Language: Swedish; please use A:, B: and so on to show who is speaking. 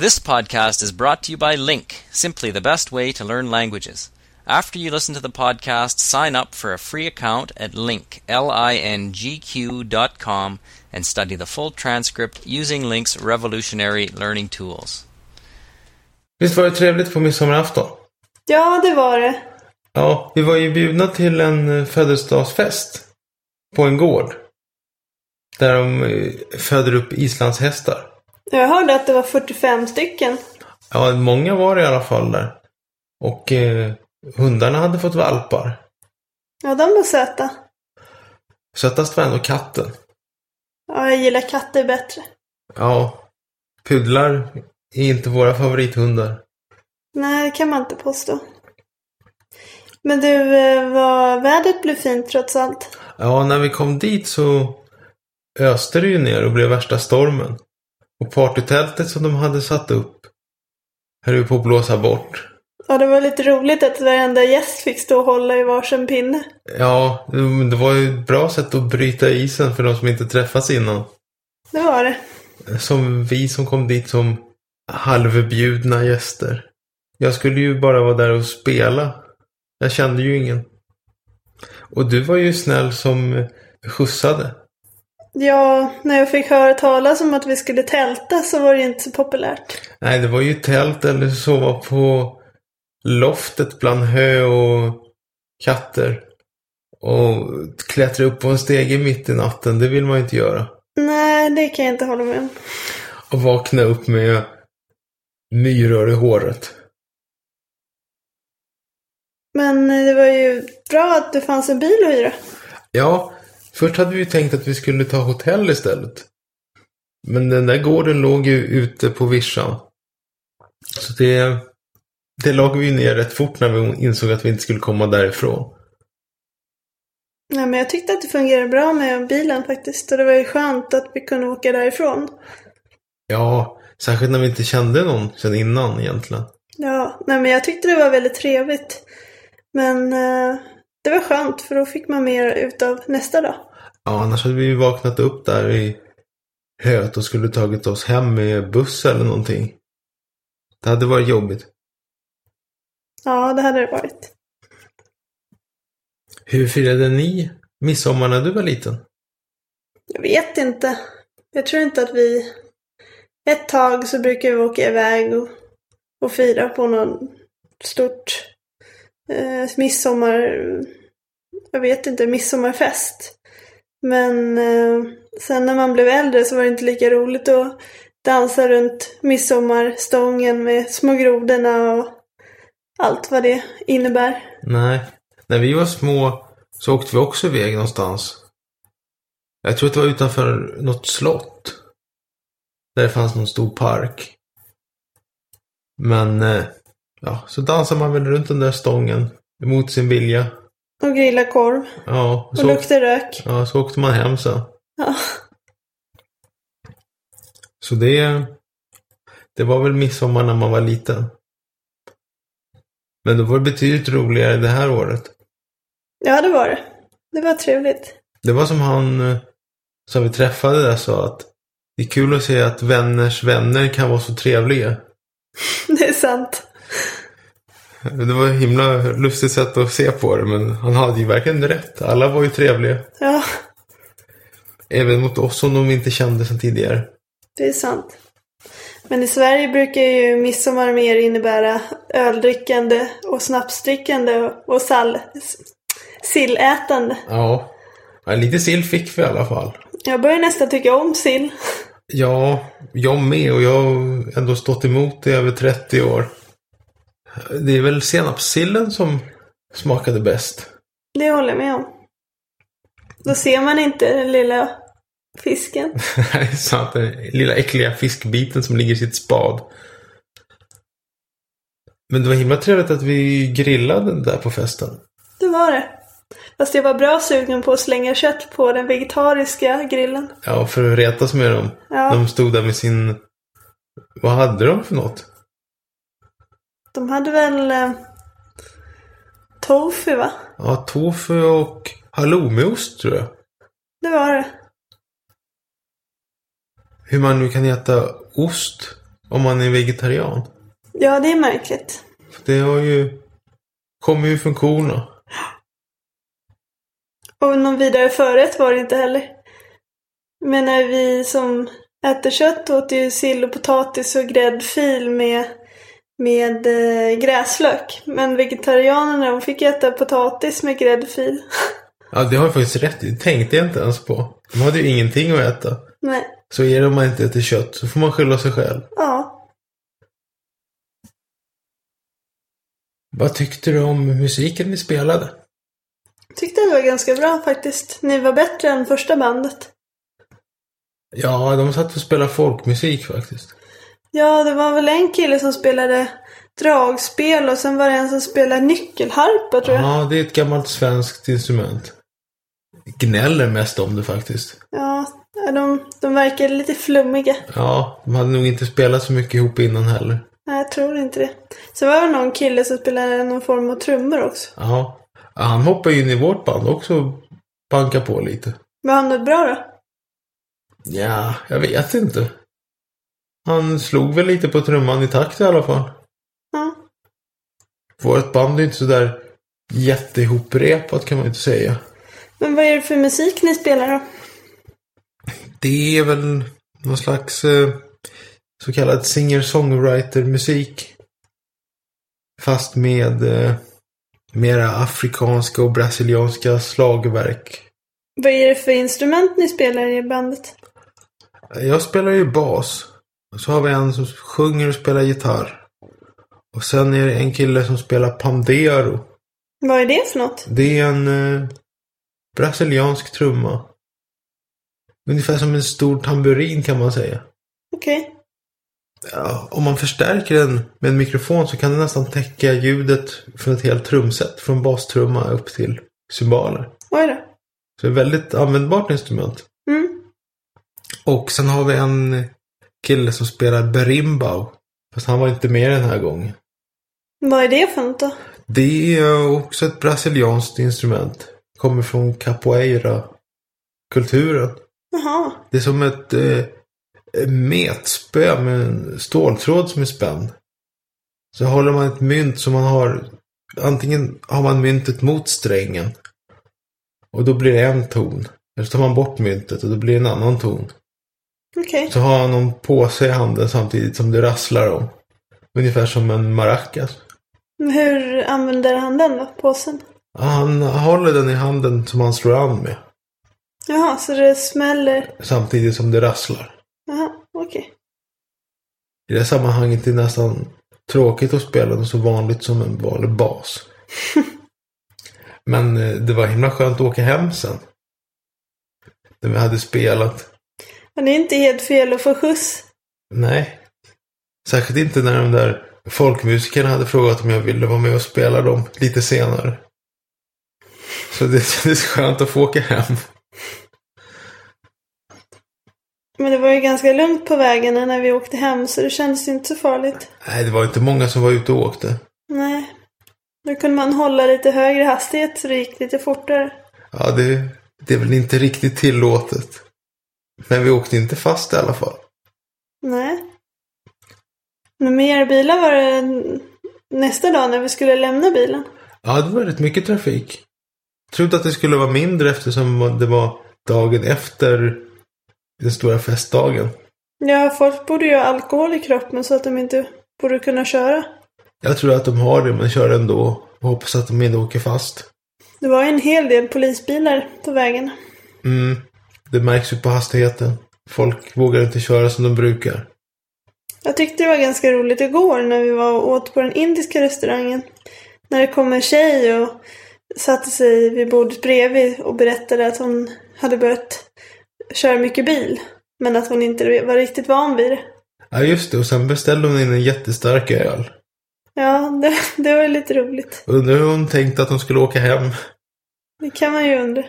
A: This podcast is brought to you by Link, simply the best way to learn languages. After you listen to the podcast, sign up for a free account at link, L-I-N-G-Q dot com and study the full transcript using Link's revolutionary learning tools.
B: Visst var det trevligt på midsommarafton?
C: Ja, det var det.
B: Ja, vi var ju bjudna till en eh, födelsedagsfest på en gård. Där de eh, föder upp islandshästar.
C: Jag hörde att det var 45 stycken.
B: Ja, många var det i alla fall där. Och eh, hundarna hade fått valpar.
C: Ja, de var söta.
B: Sötast var ändå katten.
C: Ja, jag gillar katter bättre.
B: Ja, pudlar är inte våra favorithundar.
C: Nej, det kan man inte påstå. Men du, eh, vad vädret blev fint trots allt.
B: Ja, när vi kom dit så öste det ju ner och blev värsta stormen. Och partytältet som de hade satt upp höll ju på att blåsa bort.
C: Ja, det var lite roligt att varenda gäst fick stå och hålla i varsin pinne.
B: Ja, det var ju ett bra sätt att bryta isen för de som inte träffats innan.
C: Det var det.
B: Som vi som kom dit som halvbjudna gäster. Jag skulle ju bara vara där och spela. Jag kände ju ingen. Och du var ju snäll som skjutsade.
C: Ja, när jag fick höra talas om att vi skulle tälta så var det ju inte så populärt.
B: Nej, det var ju tält eller sova på loftet bland hö och katter. Och klättra upp på en stege mitt i natten, det vill man ju inte göra.
C: Nej, det kan jag inte hålla med om.
B: Och vakna upp med myror i håret.
C: Men eh, det var ju bra att det fanns en bil att hyra.
B: Ja, först hade vi ju tänkt att vi skulle ta hotell istället. Men den där gården låg ju ute på vischan. Så det, det lag vi ju ner rätt fort när vi insåg att vi inte skulle komma därifrån.
C: Nej, men jag tyckte att det fungerade bra med bilen faktiskt. Och det var ju skönt att vi kunde åka därifrån.
B: Ja, särskilt när vi inte kände någon sedan innan egentligen.
C: Ja, nej men jag tyckte det var väldigt trevligt. Men eh, det var skönt för då fick man mer utav nästa dag.
B: Ja, annars hade vi ju vaknat upp där i höet och skulle tagit oss hem med buss eller någonting. Det hade varit jobbigt.
C: Ja, det hade det varit.
B: Hur firade ni midsommar när du var liten?
C: Jag vet inte. Jag tror inte att vi... Ett tag så brukar vi åka iväg och, och fira på någon stort eh, midsommar... Jag vet inte, midsommarfest. Men eh, sen när man blev äldre så var det inte lika roligt att dansa runt midsommarstången med små grodorna och allt vad det innebär.
B: Nej. När vi var små så åkte vi också iväg någonstans. Jag tror att det var utanför något slott. Där det fanns någon stor park. Men, eh, ja, så dansade man väl runt den där stången. Mot sin vilja.
C: Och grilla korv
B: Ja,
C: och
B: så, åkte,
C: lukta rök.
B: ja, så åkte man hem sen.
C: Ja.
B: Så det, det var väl midsommar när man var liten. Men då var det betydligt roligare det här året.
C: ja, det var det. Det var trevligt.
B: Det var som han eh, som vi träffade där sa att det är kul att se att vänners vänner kan vara så trevliga.
C: Det är sant.
B: Det var ett himla lustigt sätt att se på det men han hade ju verkligen rätt. Alla var ju trevliga.
C: Ja,
B: Även mot oss som de inte kände sedan tidigare.
C: det är sant. Men i Sverige brukar ju midsommar mer innebära öldrickande och snapsdrickande och sall... s- sillätande.
B: Ja. ja, lite sill fick vi i alla fall.
C: Jag börjar nästan tycka om sill.
B: Ja, jag med och jag har ändå stått emot i över 30 år. Det är väl senapssillen som smakade bäst.
C: Det håller jag med om. Då ser man inte den lilla fisken.
B: Nej, så att den lilla äckliga fiskbiten som ligger i sitt spad. Men det var himla trevligt att vi grillade där på festen.
C: Det var det. Fast jag var bra sugen på att slänga kött på den vegetariska grillen.
B: Ja, för att retas med dem.
C: Ja.
B: De stod där med sin... Vad hade de för något?
C: De hade väl eh, tofu va?
B: Ja, tofu och halloumiost tror jag.
C: Det var det.
B: Hur man nu kan äta ost Om man är vegetarian.
C: Ja, det är märkligt.
B: För det har ju... Kommer ju från korna.
C: Och någon vidare förrätt var det inte heller. Men när vi som äter kött åt ju sill och potatis och gräddfil med, med eh, gräslök. Men vegetarianerna de fick äta potatis med gräddfil.
B: Ja, det har jag faktiskt rätt i. Det tänkte jag inte ens på. De hade ju ingenting att äta.
C: Nej,
B: Så är det om man inte äter kött så får man skylla sig själv.
C: ja.
B: Vad tyckte du om musiken vi spelade?
C: Tyckte det var ganska bra faktiskt. Ni var bättre än första bandet.
B: Ja, de satt och spelade folkmusik faktiskt.
C: Ja, det var väl en kille som spelade dragspel och sen var det en som spelade nyckelharpa tror jag.
B: Ja, det är ett gammalt svenskt instrument. Gnäller mest om det faktiskt.
C: Ja, de, de verkade lite flummiga.
B: Ja, de hade nog inte spelat så mycket ihop innan heller.
C: Nej, jag tror inte det. Sen var det någon kille som spelade någon form av trummor också.
B: Ja, han hoppade in i vårt band också och bankade på lite.
C: Var han något bra då?
B: Ja, jag vet inte. Han slog väl lite på trumman i takt i alla fall.
C: Ja.
B: Vårt band är inte sådär jätteihoprepat kan man inte säga.
C: Men vad är det för musik ni spelar då?
B: Det är väl någon slags eh, så kallad singer-songwriter-musik. Fast med eh, mera afrikanska och brasilianska slagverk.
C: Vad är det för instrument ni spelar i bandet?
B: Jag spelar ju bas. Och så har vi en som sjunger och spelar gitarr. Och sen är det en kille som spelar pandero.
C: Vad är det för något?
B: Det är en eh, brasiliansk trumma. Ungefär som en stor tamburin kan man säga.
C: Okej.
B: Ja, om man förstärker den med en mikrofon så kan den nästan täcka ljudet från ett helt trumset. Från bastrumma upp till cymbaler.
C: Oj då.
B: Så det är ett väldigt användbart instrument.
C: Mm.
B: Och sen har vi en kille som spelar berimbau. Fast han var inte med den här gången.
C: Vad är det för något då?
B: Det är också ett brasilianskt instrument. Kommer från capoeira-kulturen.
C: Jaha.
B: Det är som ett eh, metspö med en ståltråd som är spänd. Så håller man ett mynt som man har. Antingen har man myntet mot strängen. Och då blir det en ton. Eller så tar man bort myntet och då blir det en annan ton.
C: Okej.
B: Så har han någon påse i handen samtidigt som det rasslar om. Ungefär som en maracas.
C: Men Hur använder han den då? Påsen?
B: Han håller den i handen som han slår an med.
C: Jaha, så det smäller?
B: Samtidigt som det rasslar.
C: Jaha, okej.
B: I det här sammanhanget är det nästan tråkigt att spela den så vanligt som en vanlig bas. Men eh, det var himla skönt att åka hem sen. När vi hade spelat.
C: Men det är inte helt fel att få skjuts.
B: Nej. Särskilt inte när de där folkmusikerna hade frågat om jag ville vara med och spela dem lite senare. Så det kändes skönt att få åka hem.
C: Men det var ju ganska lugnt på vägarna när vi åkte hem så det kändes inte så farligt.
B: Nej, det var inte många som var ute och åkte.
C: Nej. Då kunde man hålla lite högre hastighet så det gick lite fortare.
B: Ja, det, det är väl inte riktigt tillåtet. Men vi åkte inte fast i alla fall.
C: Nej. Men med era bilar var det nästa dag när vi skulle lämna bilen.
B: Ja, det var rätt mycket trafik. Trodde att det skulle vara mindre eftersom det var dagen efter den stora festdagen.
C: Ja, folk borde ju ha alkohol i kroppen så att de inte borde kunna köra.
B: Jag tror att de har det men kör ändå och hoppas att de inte åker fast.
C: Det var ju en hel del polisbilar på vägen.
B: Mm, det märks ju på hastigheten. Folk vågar inte köra som de brukar.
C: Jag tyckte det var ganska roligt igår när vi var och åt på den indiska restaurangen. När det kom en tjej och satte sig vid bordet bredvid och berättade att hon hade börjat köra mycket bil. Men att hon inte var riktigt van vid det.
B: Ja, just det. Och sen beställde hon in en jättestark öl.
C: Ja, det, det var lite roligt.
B: Undrar hur hon tänkte att de skulle åka hem.
C: Det kan man ju undra.